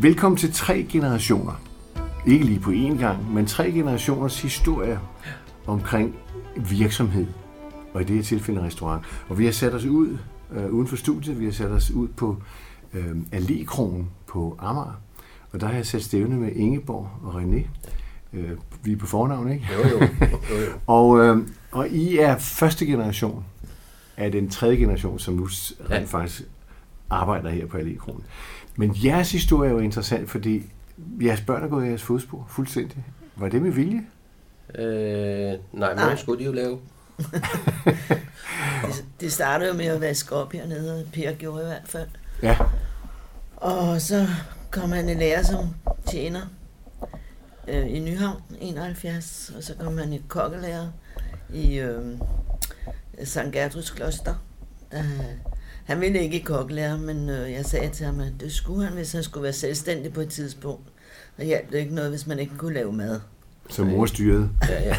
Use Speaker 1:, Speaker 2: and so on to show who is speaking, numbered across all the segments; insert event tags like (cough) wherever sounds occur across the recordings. Speaker 1: Velkommen til tre generationer. Ikke lige på én gang, men tre generationers historie omkring virksomhed. Og i det her tilfælde en restaurant. Og vi har sat os ud øh, uden for studiet. Vi har sat os ud på øh, Allekronen på Amager. Og der har jeg sat stævne med Ingeborg og René. Øh, vi er på fornavn, ikke?
Speaker 2: Jo, jo. jo, jo.
Speaker 1: Og, øh, og I er første generation af den tredje generation, som nu s-
Speaker 2: Ja.
Speaker 1: rent faktisk arbejder her på Allekronen. Men jeres historie er jo interessant, fordi jeres børn er gået i jeres fodspor fuldstændig. Var det med vilje?
Speaker 2: (laughs) Øh, nej,
Speaker 3: Nej.
Speaker 2: nogen skulle de jo lave.
Speaker 3: Det, det startede jo med at vaske op hernede, og Per gjorde i hvert fald.
Speaker 1: Ja.
Speaker 3: Og så kom han i lære som tjener øh, i Nyhavn, 71. Og så kom han i kokkelærer i øh, St. Gertruds Kloster. Øh, han ville ikke i kokkelærer, men øh, jeg sagde til ham, at det skulle han, hvis han skulle være selvstændig på et tidspunkt. Og hjalp det ikke noget, hvis man ikke kunne lave mad.
Speaker 1: Som mor styrede.
Speaker 2: Ja, ja.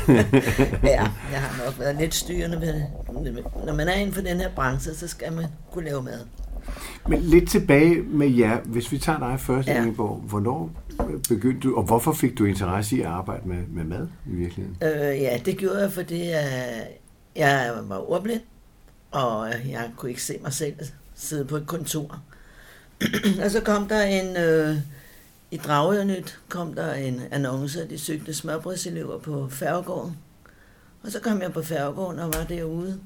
Speaker 3: Ja, jeg har nok været lidt styrende ved det. Når man er inden for den her branche, så skal man kunne lave mad.
Speaker 1: (laughs) Men lidt tilbage med jer. Hvis vi tager dig først, ja.
Speaker 3: Ja.
Speaker 1: Ingeborg. Hvornår begyndte du, og hvorfor fik du interesse i at arbejde med, med mad i virkeligheden?
Speaker 3: Øh, ja, det gjorde jeg, fordi jeg, jeg var ordblind, og jeg kunne ikke se mig selv sidde på et kontor. (clears throat) og så kom der en, øh, i Dragørnyt kom der en annonce, at de søgte smørbrødselever på Færgegården. Og så kom jeg på Færgegården og var derude,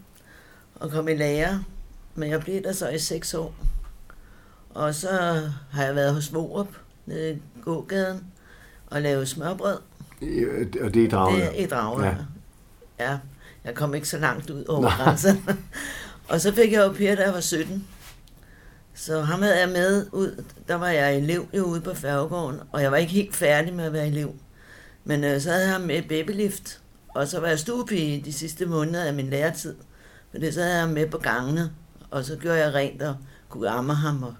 Speaker 3: og kom i lære, men jeg blev der så i seks år. Og så har jeg været hos Vorup, nede i gågaden, og lavet smørbrød.
Speaker 1: Øh, Og det er
Speaker 3: Det
Speaker 1: draget.
Speaker 3: er i Dragør.
Speaker 1: Ja.
Speaker 3: Ja. ja. Jeg kom ikke så langt ud over
Speaker 1: Nej.
Speaker 3: grænsen. (laughs) og så fik jeg jo Per, da jeg var 17. Så ham havde jeg med ud. Der var jeg elev jo ude på Færgegården, og jeg var ikke helt færdig med at være elev. Men øh, så havde jeg ham med i babylift, og så var jeg stuepige de sidste måneder af min læretid. Men så havde jeg ham med på gangene, og så gjorde jeg rent og kunne amme ham, og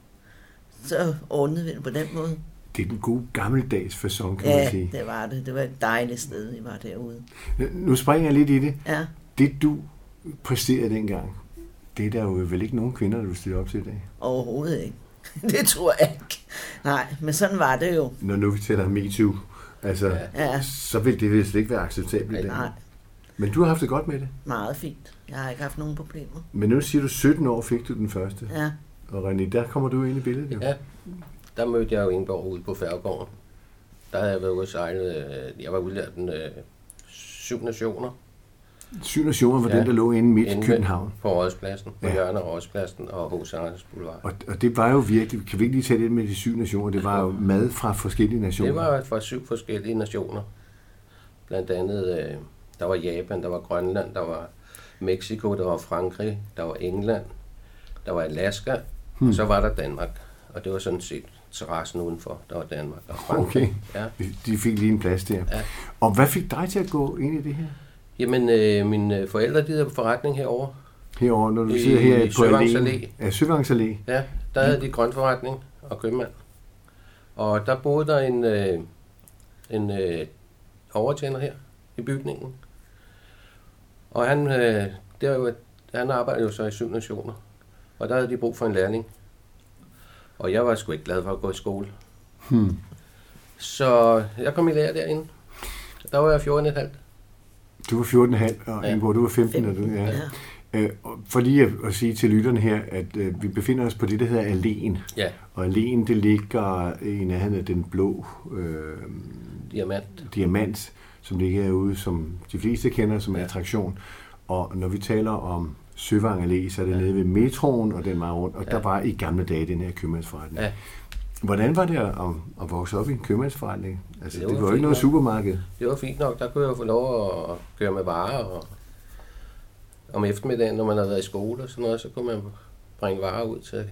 Speaker 3: så ordnede vi det på den måde.
Speaker 1: Det er den gode gammeldags fasong, kan man
Speaker 3: Ja,
Speaker 1: sige.
Speaker 3: det var det. Det var et dejligt sted, I var derude.
Speaker 1: Nu springer jeg lidt i det.
Speaker 3: Ja.
Speaker 1: Det du præsterede dengang, det er der jo vel ikke nogen kvinder, der vil stille op til i dag.
Speaker 3: Overhovedet ikke. (laughs) Det tror jeg ikke. Nej, men sådan var det jo.
Speaker 1: Når nu vi tæller MeToo, altså,
Speaker 3: Ja.
Speaker 1: så vil det vist ikke være acceptabelt i dag.
Speaker 3: Nej,
Speaker 1: Men du har haft det godt med det.
Speaker 3: meget fint. Jeg har ikke haft nogen problemer.
Speaker 1: Men nu siger du, 17 år fik du den første.
Speaker 3: Ja,
Speaker 1: Og René, der kommer du ind i billedet. Jo.
Speaker 2: ja. Der mødte jeg jo Ingeborg ude på Færgegården. Der havde jeg været ude og sejle. øh, Jeg var udlært den øh, syv nationer.
Speaker 1: Syvende og sjovere var
Speaker 2: Ja.
Speaker 1: den, der lå inde midt i
Speaker 2: inde ved-
Speaker 1: København.
Speaker 2: På Rådspladsen. På
Speaker 1: Ja.
Speaker 2: ja. hjørnet af Rådspladsen og H.C. Andersens Boulevard.
Speaker 1: Og, og det var jo virkelig, kan vi ikke lige tage det med de syv nationer, det var jo mad fra forskellige nationer.
Speaker 2: Det var fra syv forskellige nationer. Blandt andet, øh, der var Japan, der var Grønland, der var Mexico, der var Frankrig, der var England, der var Alaska, hmm. og så var der Danmark. Og det var sådan set terrassen udenfor, der var Danmark og Frankrig.
Speaker 1: Okay,
Speaker 2: Ja.
Speaker 1: de fik lige en plads der.
Speaker 2: Ja.
Speaker 1: Og hvad fik dig til at gå ind i det her?
Speaker 2: Jamen, øh, mine forældre, de havde forretning herover.
Speaker 1: Herovre, når du
Speaker 2: I
Speaker 1: sidder her på
Speaker 2: Søvangs
Speaker 1: alene.
Speaker 2: Allé.
Speaker 1: Ja, Søvangs Allé.
Speaker 2: Ja, der havde de grøntforretning og købmand. Og der boede der en, øh, en øh, overtjener her i bygningen. Og han, øh, det var jo, et- han arbejdede jo så i syv nationer. Og der havde de brug for en lærling. Og jeg var sgu ikke glad for at gå i skole. Hmm. Så jeg kom i lære derinde. Der var jeg 14,5.
Speaker 1: Du var 14,5, og
Speaker 2: Ja.
Speaker 1: ja. Ingeborg, du var 15. Og du,
Speaker 3: 15,
Speaker 1: ja.
Speaker 3: ja.
Speaker 1: Øh, og for lige at, at sige til lytterne her, at øh, vi befinder os på det, der hedder Alén.
Speaker 2: Ja,
Speaker 1: Og Alén, det ligger i nærheden af den blå øh,
Speaker 2: diamant.
Speaker 1: diamant, som ligger herude, som de fleste kender som attraktion. Og når vi taler om Søvang Allé, så er det ja. nede ved metroen og den vej rundt, og ja. der var i gamle dage den her købmandsforretning.
Speaker 2: Ja.
Speaker 1: Hvordan var det at, at vokse op i en købmandsforretning? Altså,
Speaker 2: Det
Speaker 1: det, det var
Speaker 2: var
Speaker 1: jo
Speaker 2: fint
Speaker 1: ikke noget
Speaker 2: nok.
Speaker 1: supermarked.
Speaker 2: det var fint nok. Der kunne jeg jo få lov at køre med varer. Og om eftermiddagen, når man havde været i skole og sådan noget, så kunne man bringe varer ud til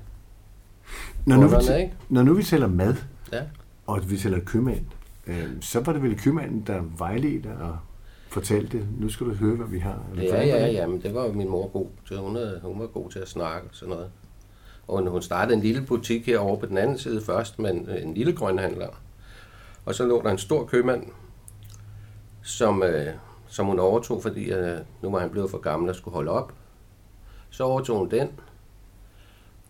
Speaker 1: Når nu, vi,
Speaker 2: Kunderne,
Speaker 1: tæ-
Speaker 2: ikke?
Speaker 1: når nu vi tæller mad,
Speaker 2: ja,
Speaker 1: og vi tæller købmand, øh, så var det vel købmanden, der vejledte og fortalte, nu skal du høre, hvad vi har. Eller
Speaker 2: ja,
Speaker 1: forandre
Speaker 2: ja,
Speaker 1: det.
Speaker 2: ja, men det var jo min mor god til. Hun, havde, hun var god til at snakke og sådan noget. Og hun- hun startede en lille butik herovre på den anden side først, men øh, en lille grønhandler. Og så lå der en stor købmand, som, øh, som hun overtog, fordi øh, nu var han blevet for gammel og skulle holde op. Så overtog hun den,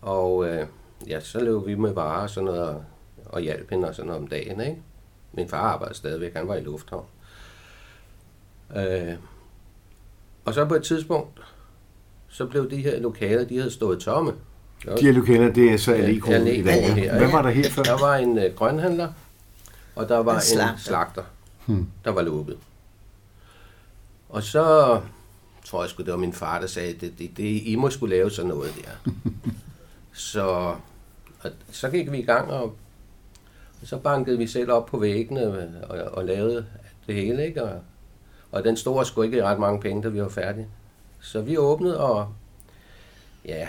Speaker 2: og øh, ja, så løb vi med varer og sådan noget, og, og hjalp hende og sådan noget om dagen, ikke? Min far arbejdede stadigvæk, han var i lufthavn. Øh, og så på et tidspunkt, så blev de her lokaler, de havde stået tomme. Der var-
Speaker 1: De her lokaler, det er så Allegro
Speaker 2: Allegro
Speaker 1: i dag.
Speaker 2: her,
Speaker 1: ikke?
Speaker 2: ikke?
Speaker 1: Hvad var der her før?
Speaker 2: Der var en øh, grønhandler, og der var
Speaker 3: En
Speaker 2: en slagter,
Speaker 3: slagter.
Speaker 2: en slagter
Speaker 1: Hmm.
Speaker 2: der var lukket. Og så tror jeg sgu, det var min far, der sagde, det, det, det I må skulle lave sådan noget
Speaker 1: (laughs)
Speaker 2: der. så, og, så gik vi i gang, og, og så bankede vi selv op på væggene øh, og, og, og lavede det hele, ikke? Og, og den store skulle ikke i ret mange penge, da vi var færdige. Så vi åbnede, og ja,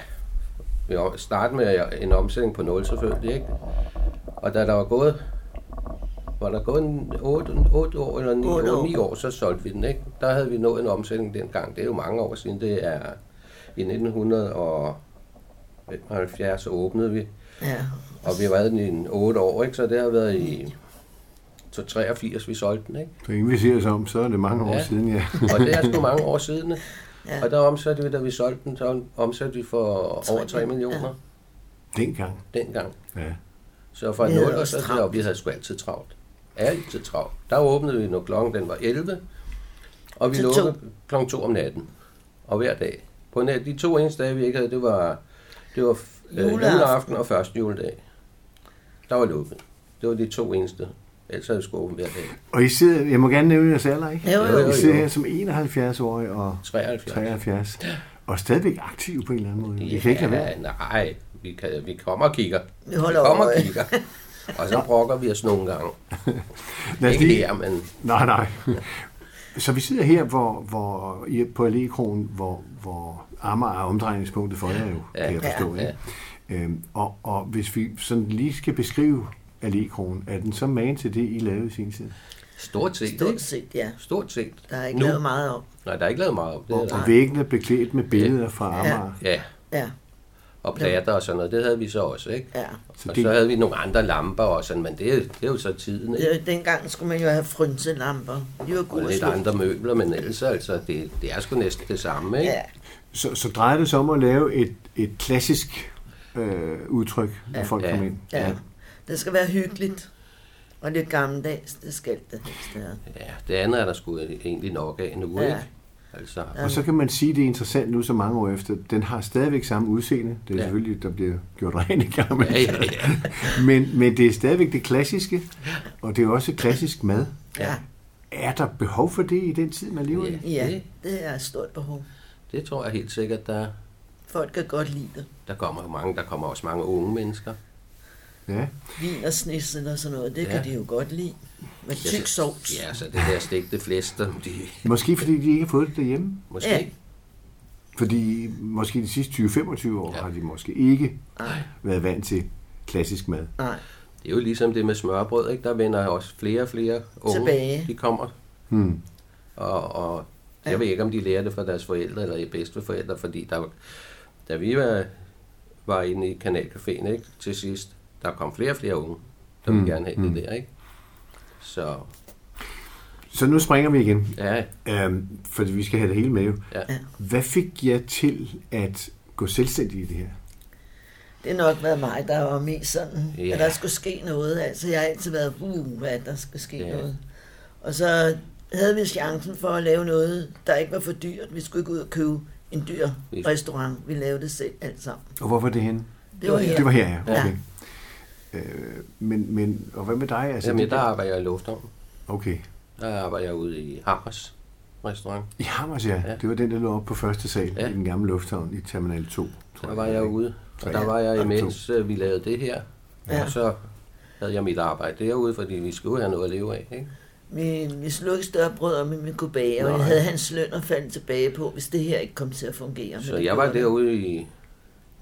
Speaker 2: vi startede med en omsætning på 0 selvfølgelig, ikke? Og da der var gået, var der gået 8, 8 år eller 9,
Speaker 3: Otte
Speaker 2: 8
Speaker 3: år.
Speaker 2: år. 9 år, så solgte vi den, ikke? Der havde vi nået en omsætning dengang. Det er jo mange år siden. Det er i 1975 åbnede vi,
Speaker 3: Ja.
Speaker 2: og vi havde den i en 8 år, ikke? Så det har været i 83, vi solgte den, ikke?
Speaker 1: Så inden vi ser os om, så er det mange år
Speaker 2: Ja.
Speaker 1: siden, ja. (laughs)
Speaker 2: Og det er sgu mange år siden, ikke?
Speaker 3: Ja.
Speaker 2: Og der omsatte vi, da vi solgte den, så omsatte vi for
Speaker 3: Tre
Speaker 2: over 3 millioner
Speaker 1: Dengang.
Speaker 2: dengang.
Speaker 1: Ja.
Speaker 2: Så fra
Speaker 3: Vi havde
Speaker 2: 0 og
Speaker 3: også
Speaker 2: så
Speaker 3: travlt.
Speaker 2: deroppe, vi havde sgu altid travlt. Altid travlt. Der åbnede vi, når klokken den var 11, og vi
Speaker 3: Til
Speaker 2: lukkede klokken 2 om natten. Og hver dag. På nat, de to eneste dage, vi ikke havde, det var, det var øh,
Speaker 3: Juleaften.
Speaker 2: juleaften. og første juledag. Der var lukket. Det var de to eneste. Ellers havde vi sgu åbent hver dag.
Speaker 1: Og I sidder, jeg må gerne nævne jeres alder, ikke?
Speaker 3: Jo, jo, jo.
Speaker 1: I sidder her som 71-årig og
Speaker 2: 73.
Speaker 1: 73. Og stadigvæk aktiv på en eller anden måde. I kan ikke lade være.
Speaker 2: Ja, nej, vi, kan, vi kommer og kigger.
Speaker 3: Vi holder
Speaker 2: kommer og
Speaker 3: øje.
Speaker 2: kigger. Og så brokker vi os nogle gange.
Speaker 1: (laughs) Lad os
Speaker 2: Ikke
Speaker 1: lige...
Speaker 2: her, men
Speaker 1: Nej, nej. Så vi sidder her hvor, hvor, I er på Allégkronen, hvor, hvor Amager er omdrejningspunktet for jer jo,
Speaker 2: Ja,
Speaker 1: kan jeg forstå.
Speaker 2: ja,
Speaker 1: ikke? Øhm, og, og hvis vi sådan lige skal beskrive Allégkronen, er den så magen til det, I lavede i sin tid?
Speaker 2: stort set. ikke?
Speaker 3: Stort set, ja.
Speaker 2: Stort set.
Speaker 3: Der er ikke
Speaker 2: Nu.
Speaker 3: lavet meget om.
Speaker 2: Nej, der er ikke lavet meget om det.
Speaker 1: Og,
Speaker 2: er der.
Speaker 1: og væggene beklædt med billeder fra
Speaker 3: Ja.
Speaker 1: Amager.
Speaker 2: Ja,
Speaker 3: Ja,
Speaker 2: og plader og sådan noget, det havde vi så også, ikke?
Speaker 3: ja.
Speaker 1: Så
Speaker 2: og
Speaker 1: det-
Speaker 2: så havde vi nogle andre lamper og sådan, men det, er- det er jo så tiden, ikke?
Speaker 3: Øh, Dengang skulle man jo have frynselamper. De var
Speaker 2: Og
Speaker 3: gode at
Speaker 2: lidt
Speaker 3: slå.
Speaker 2: andre møbler, men ellers altså, det, det er sgu næsten det samme, ikke?
Speaker 3: Ja,
Speaker 1: Så, så drejer det sig om at lave et, et klassisk øh, udtryk, når folk
Speaker 2: Ja.
Speaker 1: kommer ind.
Speaker 3: ja. Det skal være hyggeligt. Og lidt gammeldags, det skal det helst være.
Speaker 2: ja. det andet er der sgu egentlig nok af nu,
Speaker 3: Ja.
Speaker 2: ikke? Altså, ja.
Speaker 1: Og så kan man sige, at det er interessant nu så mange år efter. Den har stadigvæk samme udseende. Det er ja.
Speaker 2: Ja.
Speaker 1: selvfølgelig, der bliver gjort rent i gang
Speaker 2: Ja, ja, ja.
Speaker 1: men, men det er stadigvæk det klassiske, og det er også klassisk mad.
Speaker 3: Ja,
Speaker 1: Er der behov for det i den tid, man lever i?
Speaker 2: Ja.
Speaker 3: ja. det er et stort behov.
Speaker 2: det tror jeg helt sikkert, der,
Speaker 3: Folk kan godt lide det.
Speaker 2: der kommer jo mange, der kommer også mange unge mennesker.
Speaker 1: Ja.
Speaker 3: Vin og snitsel og sådan noget, det
Speaker 2: Ja.
Speaker 3: kan de jo godt lide. Med
Speaker 2: Ja,
Speaker 3: tyk
Speaker 2: så-
Speaker 3: sovs.
Speaker 2: Ja, så det der stegte flæster, de,
Speaker 1: Måske fordi de ikke har fået det derhjemme.
Speaker 2: måske.
Speaker 3: Ja.
Speaker 2: Ja.
Speaker 1: Fordi måske de sidste 20-25 år ja.
Speaker 2: Ja.
Speaker 1: har de måske ikke været vant til klassisk mad.
Speaker 3: Nej,
Speaker 2: Det er jo ligesom det med smørbrød, ikke? Der vender også flere og flere unge.
Speaker 3: Tilbage.
Speaker 2: De kommer.
Speaker 1: Hmm.
Speaker 2: Og, og jeg
Speaker 3: Ja.
Speaker 2: ved ikke, om de lærer det fra deres forældre eller i bedsteforældre, fordi der, var- da vi var, var inde i kanalcaféen ikke, til sidst, der kom flere og flere unge, der ville gerne have det der, ikke? Så
Speaker 1: Så nu springer vi igen.
Speaker 2: ja,
Speaker 1: Øhm, fordi vi skal have det hele med jo.
Speaker 2: ja.
Speaker 3: Ja.
Speaker 1: Hvad fik jer til at gå selvstændig i det her?
Speaker 3: det har nok været mig, der var mest sådan,
Speaker 2: Ja.
Speaker 3: at der skulle ske noget. Altså, jeg har altid været, uh, hvad der skulle ske
Speaker 2: Ja.
Speaker 3: noget. Og så havde vi chancen for at lave noget, der ikke var for dyrt. Vi skulle ikke ud og købe en dyr
Speaker 2: Vi-
Speaker 3: restaurant. Vi lavede det selv alt sammen.
Speaker 1: Og hvor var det henne?
Speaker 3: Det var her.
Speaker 1: Det var her, ja.
Speaker 3: Ja.
Speaker 1: Okay. Øh, men, men, og hvad med dig? Altså,
Speaker 2: Jamen,
Speaker 1: det-
Speaker 2: der arbejder jeg i Lufthavn.
Speaker 1: Okay.
Speaker 2: Der arbejder jeg ude i Hammers restaurant.
Speaker 1: I Hammers, ja.
Speaker 2: Ja.
Speaker 1: Det var den, der lå oppe på første sal
Speaker 2: Ja.
Speaker 1: i den gamle lufthavn i Terminal 2. tror
Speaker 2: Der var jeg ude, og der var jeg imens øh, vi lavede det her.
Speaker 3: Ja.
Speaker 2: Og så havde jeg mit arbejde derude, fordi vi skulle have noget at leve af, ikke?
Speaker 3: Vi, vi slog ikke større brød, men vi kunne bage, og
Speaker 2: Nej.
Speaker 3: jeg havde hans løn at falde tilbage på, hvis det her ikke kom til at fungere. Men
Speaker 2: Så
Speaker 3: det
Speaker 2: jeg var
Speaker 3: gjorde det.
Speaker 2: derude i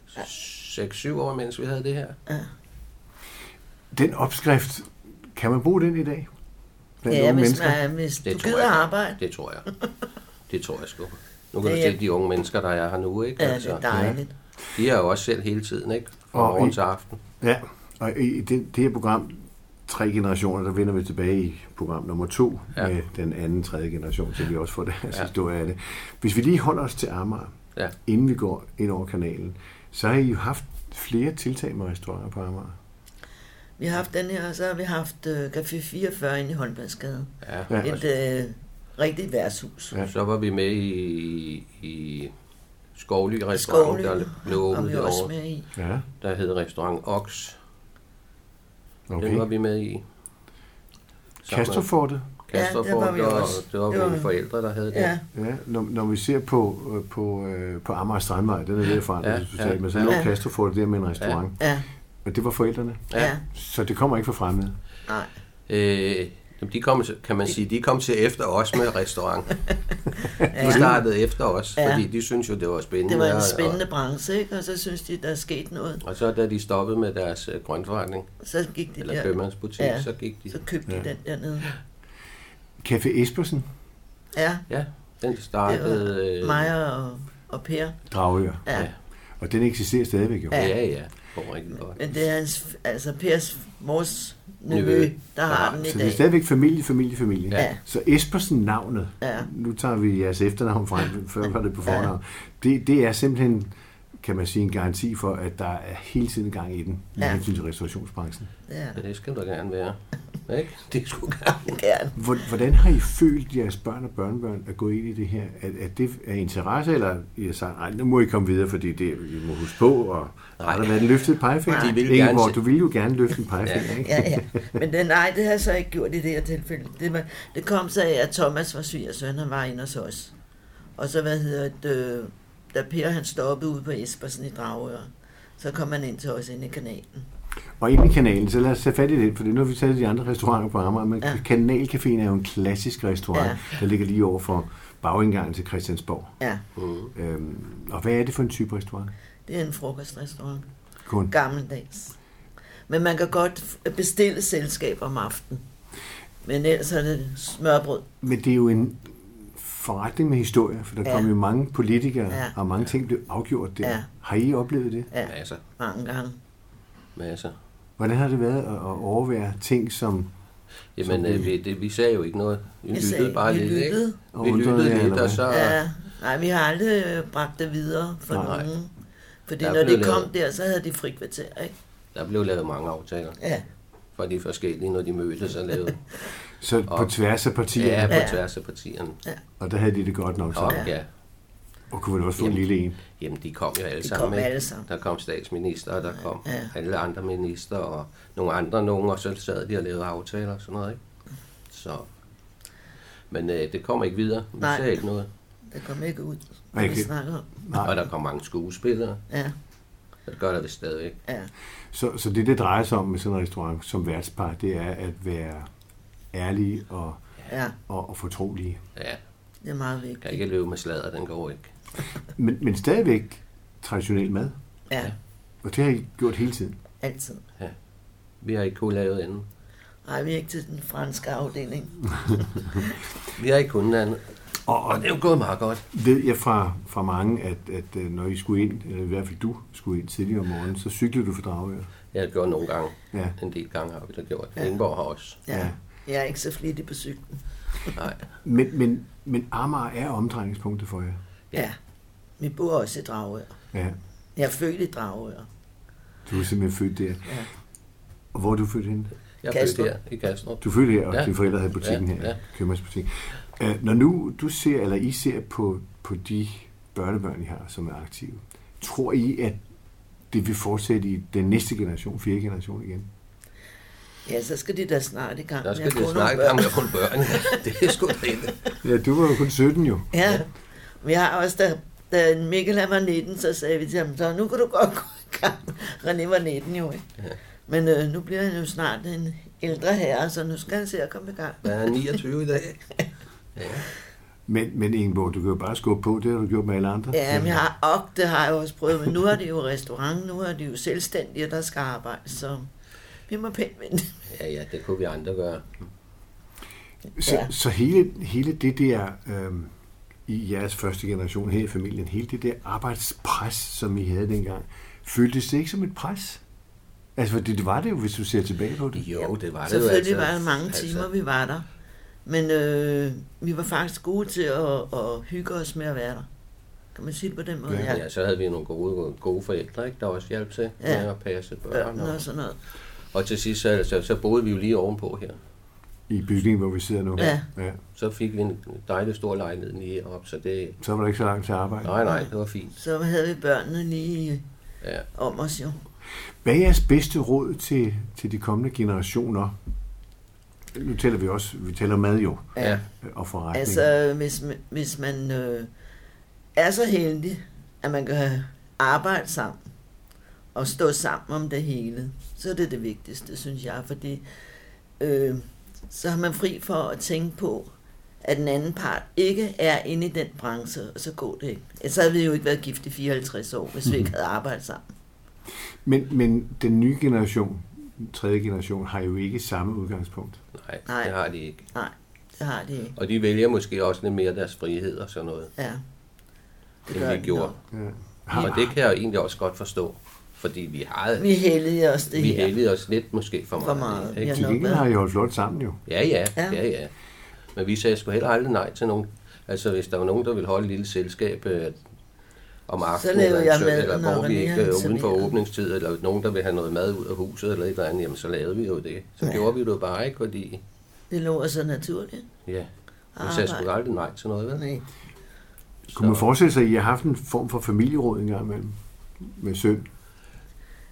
Speaker 2: 6-7 år, mens vi havde det her.
Speaker 1: Den opskrift, kan man bruge den i dag? Blandt
Speaker 3: Ja,
Speaker 1: unge
Speaker 3: hvis,
Speaker 1: mennesker?
Speaker 3: man, hvis
Speaker 2: Det
Speaker 3: du
Speaker 2: tror
Speaker 3: gider
Speaker 2: jeg.
Speaker 3: arbejde,
Speaker 2: Det tror
Speaker 3: (laughs)
Speaker 2: jeg. Det tror jeg sgu. Nu kan
Speaker 3: Det
Speaker 2: du
Speaker 3: er-
Speaker 2: se de unge mennesker, der er her nu, ikke? Altså,
Speaker 3: ja, det er dejligt.
Speaker 2: de er jo også selv hele tiden, ikke? Fra
Speaker 1: Og
Speaker 2: morgen
Speaker 1: I-
Speaker 2: til aften.
Speaker 1: Ja, og i det, det her program, Tre Generationer, der vender vi tilbage i program nummer to ja.
Speaker 2: Ja.
Speaker 1: med den anden, tredje generation, så vi også får deres ja. historie af det. Hvis vi lige holder os til Amager,
Speaker 2: Ja.
Speaker 1: inden vi går ind over kanalen, så har I jo haft flere tiltag med restauranter på Amager.
Speaker 3: Vi har haft den her, og så har vi haft øh, Café 44 inde i Holmbergsgade.
Speaker 2: Ja.
Speaker 1: Ja. altså,
Speaker 3: Et øh, rigtigt værtshus.
Speaker 1: Ja.
Speaker 2: Så var vi med i, i Skovly Restaurant,
Speaker 3: Skovly
Speaker 2: der blev
Speaker 3: var
Speaker 2: åbnet
Speaker 3: vi også
Speaker 2: derovre.
Speaker 3: med i.
Speaker 1: Ja,
Speaker 2: Der hed Restaurant Ox. Den var
Speaker 1: okay.
Speaker 2: vi med i.
Speaker 1: Kasterfortet.
Speaker 2: Kastrup,
Speaker 3: Ja, der var vi
Speaker 2: og
Speaker 3: også.
Speaker 2: Det var
Speaker 3: Det var-
Speaker 2: mine forældre, der havde det.
Speaker 3: Ja,
Speaker 1: Ja, når, når vi ser på, øh, på, øh, på Amager Strandvej, den er derfra,
Speaker 2: Ja,
Speaker 1: ja, du
Speaker 2: ja.
Speaker 1: sagde, men så lå
Speaker 3: Ja.
Speaker 1: Kasterfortet der med en restaurant.
Speaker 3: ja,
Speaker 1: Og det var forældrene.
Speaker 3: ja. ja.
Speaker 1: Så det kommer ikke fra fremmede.
Speaker 3: Nej.
Speaker 2: Øh, jamen, de kom, kan man sige, de kom til efter os med restaurant. De
Speaker 3: Ja.
Speaker 2: startede efter os,
Speaker 3: Ja.
Speaker 2: fordi de syntes jo, det var spændende.
Speaker 3: Det var en
Speaker 2: og-
Speaker 3: spændende branche, ikke? Og så synes de, der er sket noget.
Speaker 2: Og, og så da de stoppede med deres øh, grøntforretning,
Speaker 3: Så gik de
Speaker 2: eller
Speaker 3: der,
Speaker 2: købmandsbutik,
Speaker 3: Ja.
Speaker 2: så gik de.
Speaker 3: så købte de
Speaker 1: Ja.
Speaker 3: den dernede.
Speaker 1: Café Espersen,
Speaker 3: Ja,
Speaker 2: Ja, den startede... øh,
Speaker 3: mig og, og Per.
Speaker 1: Dragør.
Speaker 3: Ja.
Speaker 2: Ja.
Speaker 1: Og den eksisterer stadigvæk jo.
Speaker 3: Ja.
Speaker 2: Ja, ja, går rigtig godt.
Speaker 3: Men det er hans, altså Pers mors
Speaker 2: Nevø,
Speaker 3: nevø, der har den i
Speaker 1: Så det er
Speaker 3: dag.
Speaker 1: stadigvæk familie, familie, familie.
Speaker 3: Ja.
Speaker 1: Så Espersen navnet,
Speaker 3: Ja.
Speaker 1: nu tager vi jeres efternavn frem, før var det på fornavn, det, det er simpelthen, kan man sige, en garanti for, at der er hele tiden gang i den, med
Speaker 3: Ja.
Speaker 1: hensyn til restaurationsbranchen.
Speaker 3: Ja,
Speaker 2: Ja, det skal der gerne være. Ikke? Det skulle gerne.
Speaker 3: gerne.
Speaker 1: Hvor- Hvordan har I følt jeres børn og børnebørn at gå ind i det her? Er, er det af interesse, eller I har sagt, nej, nu må I komme videre, fordi det I må huske på, og har der været en løftet pegefinger?
Speaker 2: Nej, de ville
Speaker 1: Ingeborg,
Speaker 2: gerne se-
Speaker 1: du ville jo gerne løfte en pegefinger, ikke?
Speaker 3: Ja, ja. Men det, nej, det har jeg så ikke gjort i det her tilfælde. Det, var, det kom så af, at Thomas var syg, og søn han var inde hos os. Og så, hvad hedder det, øh, da Per han stoppede ude på Espersen i Dragør, så kom han ind til os inde i kanalen.
Speaker 1: Og inde i kanalen, så lad os tage fat i den, for nu har vi taget de andre restauranter på Amager, men ja.
Speaker 3: Ja.
Speaker 1: Kanalcaféen er jo en klassisk restaurant, ja.
Speaker 3: Ja.
Speaker 1: der ligger lige over for bagindgangen til Christiansborg.
Speaker 3: Ja,
Speaker 2: Mm.
Speaker 1: Øhm, og hvad er det for en type restaurant?
Speaker 3: det er en frokostrestaurant.
Speaker 1: Kun.
Speaker 3: Gammeldags. Men man kan godt f- bestille selskab om aftenen. Men ellers er det smørbrød.
Speaker 1: Men det er jo en forretning med historie, for der ja.
Speaker 3: Ja.
Speaker 1: kom jo mange politikere, ja.
Speaker 3: Ja.
Speaker 1: og mange ting blev afgjort der. Ja.
Speaker 3: Ja.
Speaker 1: Har I oplevet det?
Speaker 3: Ja,
Speaker 2: Masser,
Speaker 3: mange gange.
Speaker 2: masser.
Speaker 1: Hvordan har det været at at overvære ting, som...
Speaker 2: Jamen,
Speaker 1: Så-
Speaker 2: øh, vi, det, vi sagde jo ikke noget. Vi
Speaker 3: Jeg
Speaker 2: lyttede
Speaker 3: sagde,
Speaker 2: bare
Speaker 3: vi
Speaker 2: lidt,
Speaker 3: lyttede.
Speaker 2: ikke?
Speaker 1: Og
Speaker 2: Vi
Speaker 1: undrede jer,
Speaker 2: lyttede lidt,
Speaker 1: eller
Speaker 2: og
Speaker 1: hvad?
Speaker 2: så...
Speaker 3: Ja, nej, vi har aldrig øh, bragt det videre for
Speaker 1: Nej.
Speaker 3: nej. nogen. Fordi
Speaker 2: Der er
Speaker 3: når de
Speaker 2: blevet
Speaker 3: kom
Speaker 2: lavet-
Speaker 3: der, så havde de frikvarter, ikke?
Speaker 2: Der blev lavet mange aftaler
Speaker 3: Ja,
Speaker 2: fra de forskellige, når de mødtes og lavede.
Speaker 1: Så og, på
Speaker 2: Og-
Speaker 1: tværs af partierne,
Speaker 2: Ja,
Speaker 1: ja.
Speaker 2: på
Speaker 3: Ja.
Speaker 2: tværs af partierne.
Speaker 1: og der havde de det godt nok
Speaker 2: Og
Speaker 1: sammen. Ja.
Speaker 2: ja,
Speaker 1: Og kunne vel også få en
Speaker 2: Jamen.
Speaker 1: lille en.
Speaker 2: jamen de kom jo alle
Speaker 3: De
Speaker 2: sammen.
Speaker 3: kom
Speaker 2: ikke?
Speaker 3: alle sammen.
Speaker 2: Der kom statsminister, og der kom
Speaker 3: Ja.
Speaker 2: alle andre minister, og nogle andre nogen, og så sad de og lavede aftaler og sådan noget, ikke? Så... Men øh, det kom ikke videre. Vi
Speaker 3: Nej.
Speaker 2: sagde ikke noget.
Speaker 3: det kom ikke ud,
Speaker 1: Nej,
Speaker 3: hvad vi
Speaker 1: ikke-
Speaker 3: snakkede om.
Speaker 2: Og der kom mange skuespillere.
Speaker 3: Ja,
Speaker 2: Det gør der vist stadigvæk.
Speaker 3: ja,
Speaker 1: Så, så det, det drejer sig om med sådan en restaurant som værtspar, det er at være ærlige og,
Speaker 3: ja,
Speaker 1: og, og fortrolige.
Speaker 2: Ja,
Speaker 3: det er meget
Speaker 2: kan
Speaker 3: vigtigt.
Speaker 2: ikke løbe med sladder, den går ikke.
Speaker 1: Men, men stadigvæk traditionel mad,
Speaker 3: Ja,
Speaker 1: og det har I gjort hele tiden.
Speaker 3: altid.
Speaker 2: Vi har ikke kunnet lave andet.
Speaker 3: Nej, vi er ikke til den franske afdeling.
Speaker 2: Vi har ikke kunnet andet.
Speaker 1: Og, og
Speaker 2: Og det er jo gået meget godt.
Speaker 1: ved jeg fra, fra mange, at, at øh, når I skulle ind, eller i hvert fald du skulle ind tidligere om morgenen, så cyklede du for Dragør.
Speaker 2: Jeg har gjort nogle gange.
Speaker 1: Ja.
Speaker 2: En del gange har vi da gjort. Ja. Ingeborg har også.
Speaker 3: Ja,
Speaker 1: Ja.
Speaker 3: jeg er ikke så flittig på cyklen.
Speaker 2: Nej.
Speaker 1: Men, men, men Amager er omdrejningspunktet for jer.
Speaker 2: Ja.
Speaker 3: Ja, vi bor også i Dragør.
Speaker 1: Ja,
Speaker 3: Jeg er født i Dragør.
Speaker 1: du er simpelthen født der.
Speaker 3: Ja.
Speaker 1: Og hvor er du født henne?
Speaker 2: Jeg er født
Speaker 3: Kastrup.
Speaker 2: her i Kastrup.
Speaker 1: Du følte her, og ja.
Speaker 2: Ja.
Speaker 1: dine forældre havde butikken ja.
Speaker 2: Ja,
Speaker 1: her, ja.
Speaker 2: ja.
Speaker 1: købmandsbutik. Øh, når nu du ser, eller I ser på, på de børnebørn, I har, som er aktive, tror I, at det vil fortsætte i den næste generation, fjerde generation igen?
Speaker 3: Ja, så skal de da snart i gang
Speaker 2: Der
Speaker 3: med
Speaker 2: skal
Speaker 3: at få
Speaker 2: det
Speaker 3: nogle
Speaker 2: snakke
Speaker 3: børn.
Speaker 2: om at få (laughs) børn. det er sgu da ikke.
Speaker 1: Ja, du var jo kun 17 jo.
Speaker 3: Ja, vi har også, da, da Mikkel han var 19, så sagde vi til ham, så nu kan du godt gå i gang. René var 19 jo, ikke?
Speaker 2: Ja.
Speaker 3: Men øh, nu bliver han jo snart en ældre herre, så nu skal han se at komme i gang.
Speaker 2: Jeg er 29 i dag. Ja.
Speaker 1: Men, men Ingeborg, du kan jo bare skubbe på, det har du gjort med alle andre.
Speaker 3: Ja, men jeg har, og det har jeg også prøvet, men nu er det jo restaurant, nu er det jo selvstændige, der skal arbejde, så vi må pænt vente.
Speaker 2: ja, ja, det kunne vi andre gøre.
Speaker 1: Så, ja.
Speaker 3: Ja.
Speaker 1: så hele, hele det der, øhm, i jeres første generation her i familien, hele det der arbejdspres, som I havde dengang, føltes det ikke som et pres? Altså, for det, det var det jo, hvis du ser tilbage på det.
Speaker 2: Jo, det var det jo
Speaker 3: Selvfølgelig
Speaker 2: altså.
Speaker 3: var der mange timer, vi var der, men øh, vi var faktisk gode til at, at hygge os med at være der. Kan man sige det på den måde?
Speaker 2: Ja, så havde vi nogle gode, gode forældre, ikke, der også hjalp til
Speaker 3: Ja.
Speaker 2: med at passe børn.
Speaker 3: børn
Speaker 2: Og,
Speaker 3: og sådan noget.
Speaker 2: Og til sidst, så, så, så boede vi jo lige ovenpå her.
Speaker 1: I bygningen, hvor vi sidder nu.
Speaker 3: Ja.
Speaker 1: ja.
Speaker 2: Så fik vi en dejlig stor lejlighed lige op, så det...
Speaker 1: Så var der ikke så langt til arbejde.
Speaker 2: Nej, nej, det var fint.
Speaker 3: Så havde vi børnene lige
Speaker 2: Ja.
Speaker 3: om os jo.
Speaker 1: Hvad er jeres bedste råd til, til de kommende generationer? Nu taler vi også, vi taler mad jo, øh,
Speaker 2: Ja.
Speaker 1: og forretning.
Speaker 3: Altså, hvis, ma- hvis man øh, er så heldig, at man kan arbejde sammen og stå sammen om det hele, så er det det vigtigste, synes jeg, fordi øh, så har man fri for at tænke på, at den anden part ikke er inde i den branche, og så går det ikke. Ellers havde vi jo ikke været gift i 54 år, hvis vi
Speaker 2: Mhm.
Speaker 3: ikke havde arbejdet sammen.
Speaker 1: Men, men den nye generation, den tredje generation, har jo ikke samme udgangspunkt.
Speaker 2: Nej,
Speaker 3: Nej.
Speaker 2: nej, det har de ikke.
Speaker 3: Nej, det har de ikke.
Speaker 2: Og de vælger måske også lidt mere deres frihed og sådan noget,
Speaker 3: Ja,
Speaker 2: end vi
Speaker 3: de
Speaker 2: gjorde.
Speaker 3: nok.
Speaker 1: Ja. Har,
Speaker 2: Og det kan jeg jo egentlig også godt forstå, fordi vi har
Speaker 3: Vi heldigede os det
Speaker 2: vi
Speaker 3: her.
Speaker 2: heldigede os lidt måske for meget.
Speaker 3: For meget,
Speaker 2: ikke?
Speaker 3: ja.
Speaker 1: til gengæld har I holdt flot sammen jo.
Speaker 2: Ja, ja,
Speaker 3: Ja.
Speaker 2: ja, ja, ja. Men vi sagde sgu heller aldrig nej til nogen. Altså, hvis der var nogen, der ville holde et lille selskab øh, om aftenen,
Speaker 3: lavede
Speaker 2: eller, en
Speaker 3: jeg
Speaker 2: søndag,
Speaker 3: maden,
Speaker 2: eller
Speaker 3: og
Speaker 2: hvor vi
Speaker 3: René,
Speaker 2: ikke
Speaker 3: han
Speaker 2: øh, uden for
Speaker 3: serverede.
Speaker 2: åbningstid, eller nogen, der ville have noget mad ud af huset, eller et eller andet, jamen, så lavede vi jo det. Så
Speaker 3: Ja.
Speaker 2: ja. gjorde vi det jo bare ikke, fordi,
Speaker 3: Det lå så naturligt.
Speaker 2: ja, vi sagde sgu
Speaker 3: Arbejde.
Speaker 2: aldrig nej til noget, vel?
Speaker 3: Nej.
Speaker 1: Kunne man forestille sig, at I har haft en form for familieråd engang imellem? Med søn,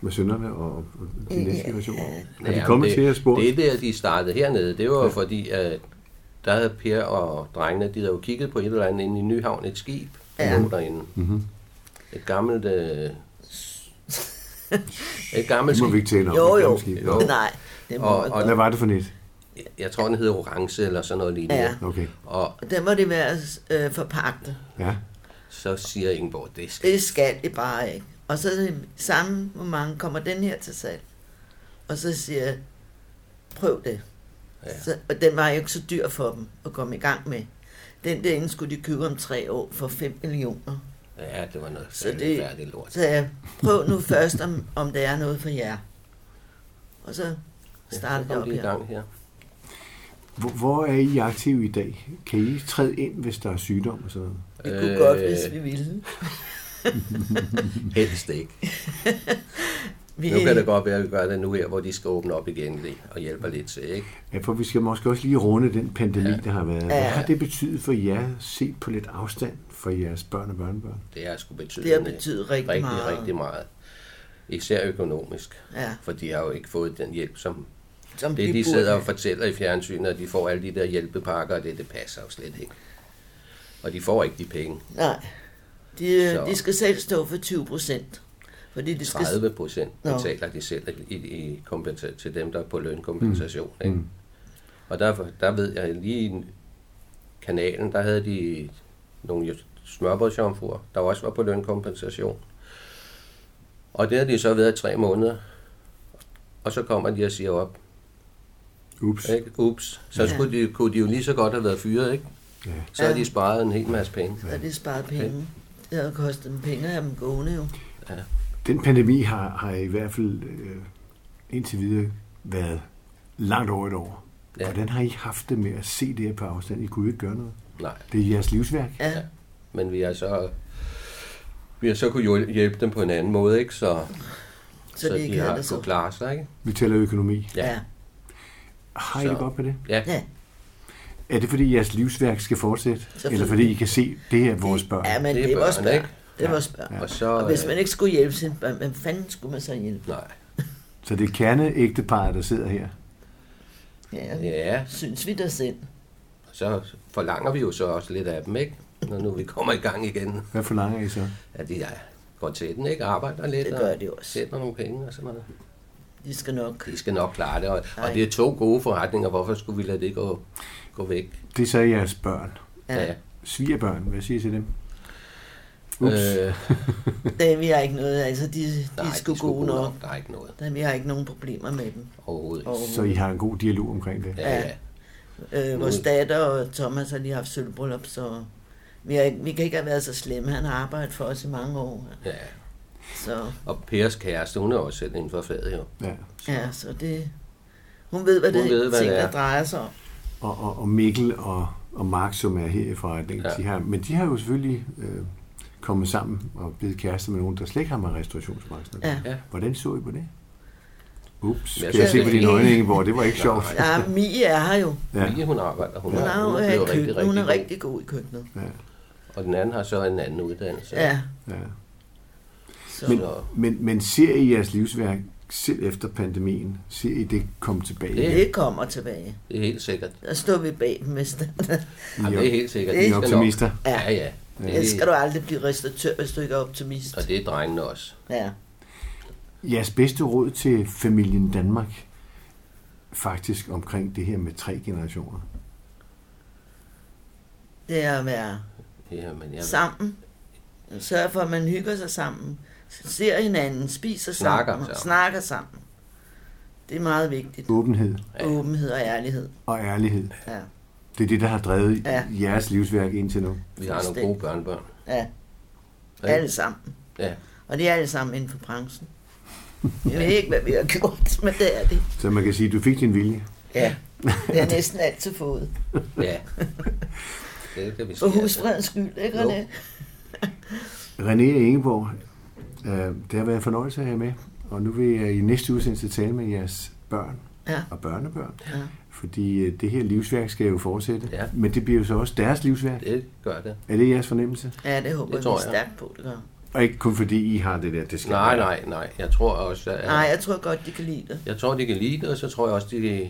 Speaker 1: med sønderne og og
Speaker 3: Øh,
Speaker 1: de næste generationer? Er de
Speaker 2: Ja,
Speaker 1: kommet
Speaker 2: det,
Speaker 1: til at spurgt?
Speaker 2: Det der, de startede hernede, det var jo fordi, at der havde Per og drengene, de havde jo kigget på et eller andet inde i Nyhavn, et skib,
Speaker 3: Ja.
Speaker 2: der lå derinde.
Speaker 1: Mhm.
Speaker 2: Mm-hmm. Et gammelt... Øh, et gammelt
Speaker 1: Det må vi
Speaker 2: skib.
Speaker 1: ikke tale om.
Speaker 3: Jo,
Speaker 1: det er
Speaker 3: jo.
Speaker 1: måske.
Speaker 2: Jo.
Speaker 3: Nej, det må
Speaker 2: Og-
Speaker 3: man
Speaker 2: og-
Speaker 1: Hvad
Speaker 3: godt.
Speaker 1: var det for net?
Speaker 2: Jeg tror, den hedder Orange eller sådan noget lignende.
Speaker 3: Ja.
Speaker 1: Okay,
Speaker 2: Og
Speaker 3: Og den må det være øh, forpagtet.
Speaker 1: ja.
Speaker 2: så siger Ingeborg, det skal
Speaker 3: Det skal det bare ikke. Og så er det samme, hvor mange kommer den her til salg. Og så siger jeg, prøv det. Ja.
Speaker 2: Ja.
Speaker 3: Så, og den var jo ikke så dyr for dem at komme i gang med. Den derinde skulle de købe om tre år for 5 millioner.
Speaker 2: Ja, det var noget
Speaker 3: Så
Speaker 2: så
Speaker 3: det-
Speaker 2: det... færdigt lort.
Speaker 3: Så jeg, prøv nu først, om, om der er noget for jer. Og så startede
Speaker 2: Så kom
Speaker 3: det op
Speaker 2: de i
Speaker 3: her.
Speaker 2: gang her.
Speaker 1: Hvor, hvor er I aktive i dag? Kan I træde ind, hvis der er sygdom og sådan noget?
Speaker 3: Vi kunne
Speaker 2: Øh,
Speaker 3: godt, hvis vi ville.
Speaker 2: Helst ikke.
Speaker 3: Vi, (laughs)
Speaker 2: Nu kan det godt være, at vi gør det nu her, hvor de skal åbne op igen lige, og hjælper lidt til, ikke?
Speaker 1: Ja, for vi skal måske også lige runde den pandemi, ja. der har været. Hvad
Speaker 3: Ja.
Speaker 1: har det betydet for jer, set på lidt afstand for jeres børn og børnebørn?
Speaker 2: Det har sgu betydet, øh,
Speaker 3: Det har betydet rigtig
Speaker 2: rigtig,
Speaker 3: meget.
Speaker 2: rigtig meget. Især økonomisk,
Speaker 3: Ja.
Speaker 2: for de har jo ikke fået den hjælp, som
Speaker 3: som
Speaker 2: det, de
Speaker 3: burde
Speaker 2: sidder og
Speaker 3: have.
Speaker 2: fortæller i fjernsynet, at de får alle de der hjælpepakker, og det, det passer jo slet ikke. Og de får ikke de penge.
Speaker 3: Nej. De, øh,
Speaker 2: Så-
Speaker 3: de skal selv stå for 20 procent. Fordi de skal...
Speaker 2: 30 procent
Speaker 3: Nå.
Speaker 2: betaler de selv i, i kompensa- til dem, der er på lønkompensation. Mm. Ikke? Og der, der ved jeg lige i kanalen, der havde de nogle smørbrødsjomfruer, der også var på lønkompensation. Og det har de så været i tre måneder. Og så kommer de og siger op.
Speaker 1: Mm. Ups.
Speaker 2: Ikke? Ups. Så
Speaker 3: Ja.
Speaker 2: skulle de, kunne de jo lige så godt have været fyret, ikke?
Speaker 1: Ja.
Speaker 2: Så har
Speaker 3: Ja.
Speaker 2: de sparet en hel masse penge.
Speaker 3: Og det sparer penge. Det har kostet dem penge at have dem gående jo.
Speaker 1: Den pandemi har, har i hvert fald øh, indtil videre været langt over et år. Ja.
Speaker 2: Ja.
Speaker 1: Hvordan har I haft det med at se det her på afstand? I kunne jo ikke gøre noget.
Speaker 2: Nej.
Speaker 1: Det er jeres livsværk.
Speaker 3: Ja.
Speaker 2: Ja. Men vi har så vi har så kunne hjul- hjælpe dem på en anden måde, ikke? Så,
Speaker 3: Så de ikke
Speaker 2: de
Speaker 3: havde
Speaker 2: har
Speaker 3: det så.
Speaker 2: kunnet klare sig, ikke?
Speaker 1: Vi taler økonomi.
Speaker 2: Ja.
Speaker 3: Ja.
Speaker 1: Har I
Speaker 2: Så-
Speaker 1: det godt med det?
Speaker 2: Ja,
Speaker 3: ja.
Speaker 1: Er det fordi jeres livsværk skal fortsætte? Eller fordi I kan se, det her er vores børn?
Speaker 3: Ja, men
Speaker 2: Det
Speaker 3: det,
Speaker 2: er
Speaker 3: det var
Speaker 2: børn,
Speaker 3: spørg.
Speaker 2: ikke?
Speaker 3: Det var spørg. Ja.
Speaker 2: og så...
Speaker 3: Og hvis man
Speaker 2: øh,
Speaker 3: ikke skulle hjælpe sine børn, hvem fanden skulle man så hjælpe?
Speaker 2: Nej.
Speaker 1: Så det er kerneægteparet, der sidder her.
Speaker 3: Ja,
Speaker 2: Ja,
Speaker 3: synes vi da selv.
Speaker 2: så forlanger vi jo så også lidt af dem, ikke? Når nu vi kommer i gang igen.
Speaker 1: Hvad forlanger I så?
Speaker 2: At de ja, går til den, ikke? Arbejder lidt
Speaker 3: Det
Speaker 2: og
Speaker 3: gør de også.
Speaker 2: sætter nogle penge og sådan noget.
Speaker 3: De skal nok.
Speaker 2: De skal nok klare det. Og,
Speaker 3: Ej.
Speaker 2: og det er to gode forretninger. Hvorfor skulle vi lade det gå, gå væk?
Speaker 1: Det er så jeres børn.
Speaker 3: Ja.
Speaker 1: Svigerbørn, hvad siger I til dem? Ups.
Speaker 2: Øh,
Speaker 3: Det, vi har ikke noget, altså de,
Speaker 2: nej,
Speaker 3: de er sgu gode nok.
Speaker 2: Der er ikke noget
Speaker 3: Der, vi har ikke nogen problemer med dem.
Speaker 2: overhovedet.
Speaker 3: Og,
Speaker 1: Så I har en god dialog omkring det.
Speaker 2: Ja, ja.
Speaker 3: øh, vores
Speaker 2: Mm.
Speaker 3: datter og Thomas har lige haft sølvbryllup, så vi, har, ikke- vi kan ikke have været så slemme. Han har arbejdet for os i mange år.
Speaker 2: ja.
Speaker 3: Så
Speaker 2: Og Pers kæreste, hun er også selv inden for faget, jo.
Speaker 1: Ja.
Speaker 3: Ja, så det... Hun ved, hvad
Speaker 2: Hun
Speaker 3: det
Speaker 2: ved, hvad
Speaker 3: ting,
Speaker 2: det er.
Speaker 3: der drejer sig om.
Speaker 1: Og, og, og Mikkel og, og Mark, som er her i forretningen, ja.
Speaker 2: Ja.
Speaker 1: de har, men de har jo selvfølgelig øh, kommet sammen og blevet kærester med nogen, der slet ikke har med restaurationsbranchen. at gøre.
Speaker 3: Ja.
Speaker 2: Ja.
Speaker 1: Hvordan så I på det? Ups,
Speaker 2: Men jeg
Speaker 1: skal jeg se
Speaker 2: synes,
Speaker 1: på
Speaker 2: det-
Speaker 1: dine øjne, Ingeborg? Det var
Speaker 2: (laughs)
Speaker 1: ikke sjovt.
Speaker 2: Nej.
Speaker 3: Ja, Mie er her jo.
Speaker 1: Ja.
Speaker 2: Ja. Mia, hun arbejder. Hun,
Speaker 3: Hun,
Speaker 2: er,
Speaker 3: er,
Speaker 2: hun
Speaker 3: jo
Speaker 2: er
Speaker 3: er,
Speaker 2: blevet
Speaker 3: i
Speaker 2: rigtig,
Speaker 3: køkken.
Speaker 2: rigtig,
Speaker 3: hun er
Speaker 2: rigtig
Speaker 3: rigtig god i køkkenet.
Speaker 1: Ja.
Speaker 2: god. Og den anden har så en anden uddannelse.
Speaker 3: Ja,
Speaker 1: Ja.
Speaker 3: så
Speaker 1: Men,
Speaker 3: Men,
Speaker 1: men, men ser I jeres livsværk selv efter pandemien? Ser I det komme tilbage?
Speaker 2: Det-
Speaker 3: det kommer tilbage.
Speaker 2: Det er helt sikkert.
Speaker 3: Der står vi bag dem, hvis det
Speaker 2: Jamen,
Speaker 1: I,
Speaker 2: det er
Speaker 1: er-
Speaker 2: helt sikkert.
Speaker 1: I
Speaker 2: Det
Speaker 1: er
Speaker 2: skal nok.
Speaker 1: optimister?
Speaker 2: Ja,
Speaker 3: Ja.
Speaker 2: ja.
Speaker 3: ja. skal du aldrig blive restauratør, hvis du ikke er optimist.
Speaker 2: Og det er drengene også.
Speaker 3: Ja.
Speaker 1: Jeres bedste råd til familien Danmark, faktisk omkring det her med tre generationer.
Speaker 3: Det er at være
Speaker 2: Ja, men jeg
Speaker 3: sammen. Sørg for, at man hygger sig sammen. Ser hinanden, spiser
Speaker 2: Snakker
Speaker 3: sammen,
Speaker 2: sammen. Uh.
Speaker 3: snakker sammen. Det er meget vigtigt.
Speaker 1: Åbenhed
Speaker 2: Ja.
Speaker 3: Ja. Åbenhed og ærlighed.
Speaker 1: og ærlighed.
Speaker 3: Ja.
Speaker 1: Det er det, der har drevet
Speaker 3: Ja.
Speaker 1: jeres livsværk indtil nu.
Speaker 2: vi har nogle gode børnebørn.
Speaker 3: Ja,
Speaker 2: Ja.
Speaker 3: alle sammen.
Speaker 2: Ja.
Speaker 3: Og det er alle sammen inden for branchen. Jeg ved ikke, hvad vi har gjort, men det er det.
Speaker 1: Så man kan sige, at du fik din vilje.
Speaker 3: Ja, det er næsten altid fået. (laughs)
Speaker 2: Ja. Det kan vi
Speaker 3: For
Speaker 2: sige.
Speaker 3: husfredens skyld, ikke
Speaker 2: Jo.
Speaker 3: René?
Speaker 1: René og Ingeborg, øh, det har været en fornøjelse at have jer med. Og nu vil jeg i næste udsendelse tale med jeres børn
Speaker 3: Ja.
Speaker 1: og børnebørn.
Speaker 3: Ja.
Speaker 1: Fordi øh, det her livsværk skal jo fortsætte.
Speaker 2: Ja.
Speaker 1: Men det bliver jo så også deres livsværk.
Speaker 2: Det gør det.
Speaker 1: Er det jeres fornemmelse?
Speaker 3: Ja, det håber
Speaker 2: Det
Speaker 3: det
Speaker 2: tror
Speaker 3: jeg
Speaker 2: jeg.
Speaker 3: stærkt på, det gør.
Speaker 1: Og ikke kun fordi I har det der, det skal
Speaker 2: Nej,
Speaker 1: være.
Speaker 2: nej, nej. Jeg tror også, at...
Speaker 3: Nej, jeg tror godt, de kan lide det.
Speaker 2: Jeg tror, de kan lide det, og så tror jeg også, de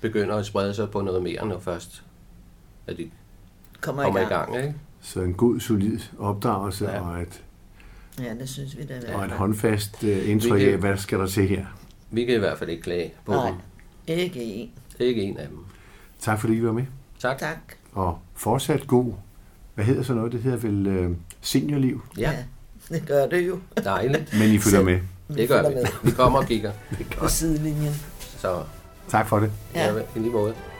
Speaker 2: begynder at sprede sig på noget mere, når først at de
Speaker 3: Kommer,
Speaker 2: kommer
Speaker 3: i
Speaker 2: i
Speaker 3: gang.
Speaker 2: gang. Ikke?
Speaker 1: Så en god, solid opdragelse
Speaker 2: Ja.
Speaker 1: ja. og et,
Speaker 3: Ja, det synes vi da. i hvert
Speaker 1: og et
Speaker 3: fald.
Speaker 1: håndfast øh, indtryk
Speaker 2: Hvilket-
Speaker 1: af, hvad skal der til her.
Speaker 2: Vi kan i hvert fald ikke klage på
Speaker 3: Nej,
Speaker 2: dem.
Speaker 3: ikke en.
Speaker 2: Det er ikke en af dem.
Speaker 1: Tak fordi I var med.
Speaker 2: Tak.
Speaker 3: Tak.
Speaker 1: Og fortsat god, hvad hedder så noget, det hedder vel øh, seniorliv,
Speaker 2: Ja,
Speaker 3: Ja, det gør det jo.
Speaker 2: dejligt.
Speaker 1: men I følger med.
Speaker 2: Det gør vi.
Speaker 3: følger
Speaker 2: Vi kommer og kigger.
Speaker 3: På sidelinjen.
Speaker 2: Så
Speaker 1: Tak for det.
Speaker 3: Ja.
Speaker 2: ja. i lige måde.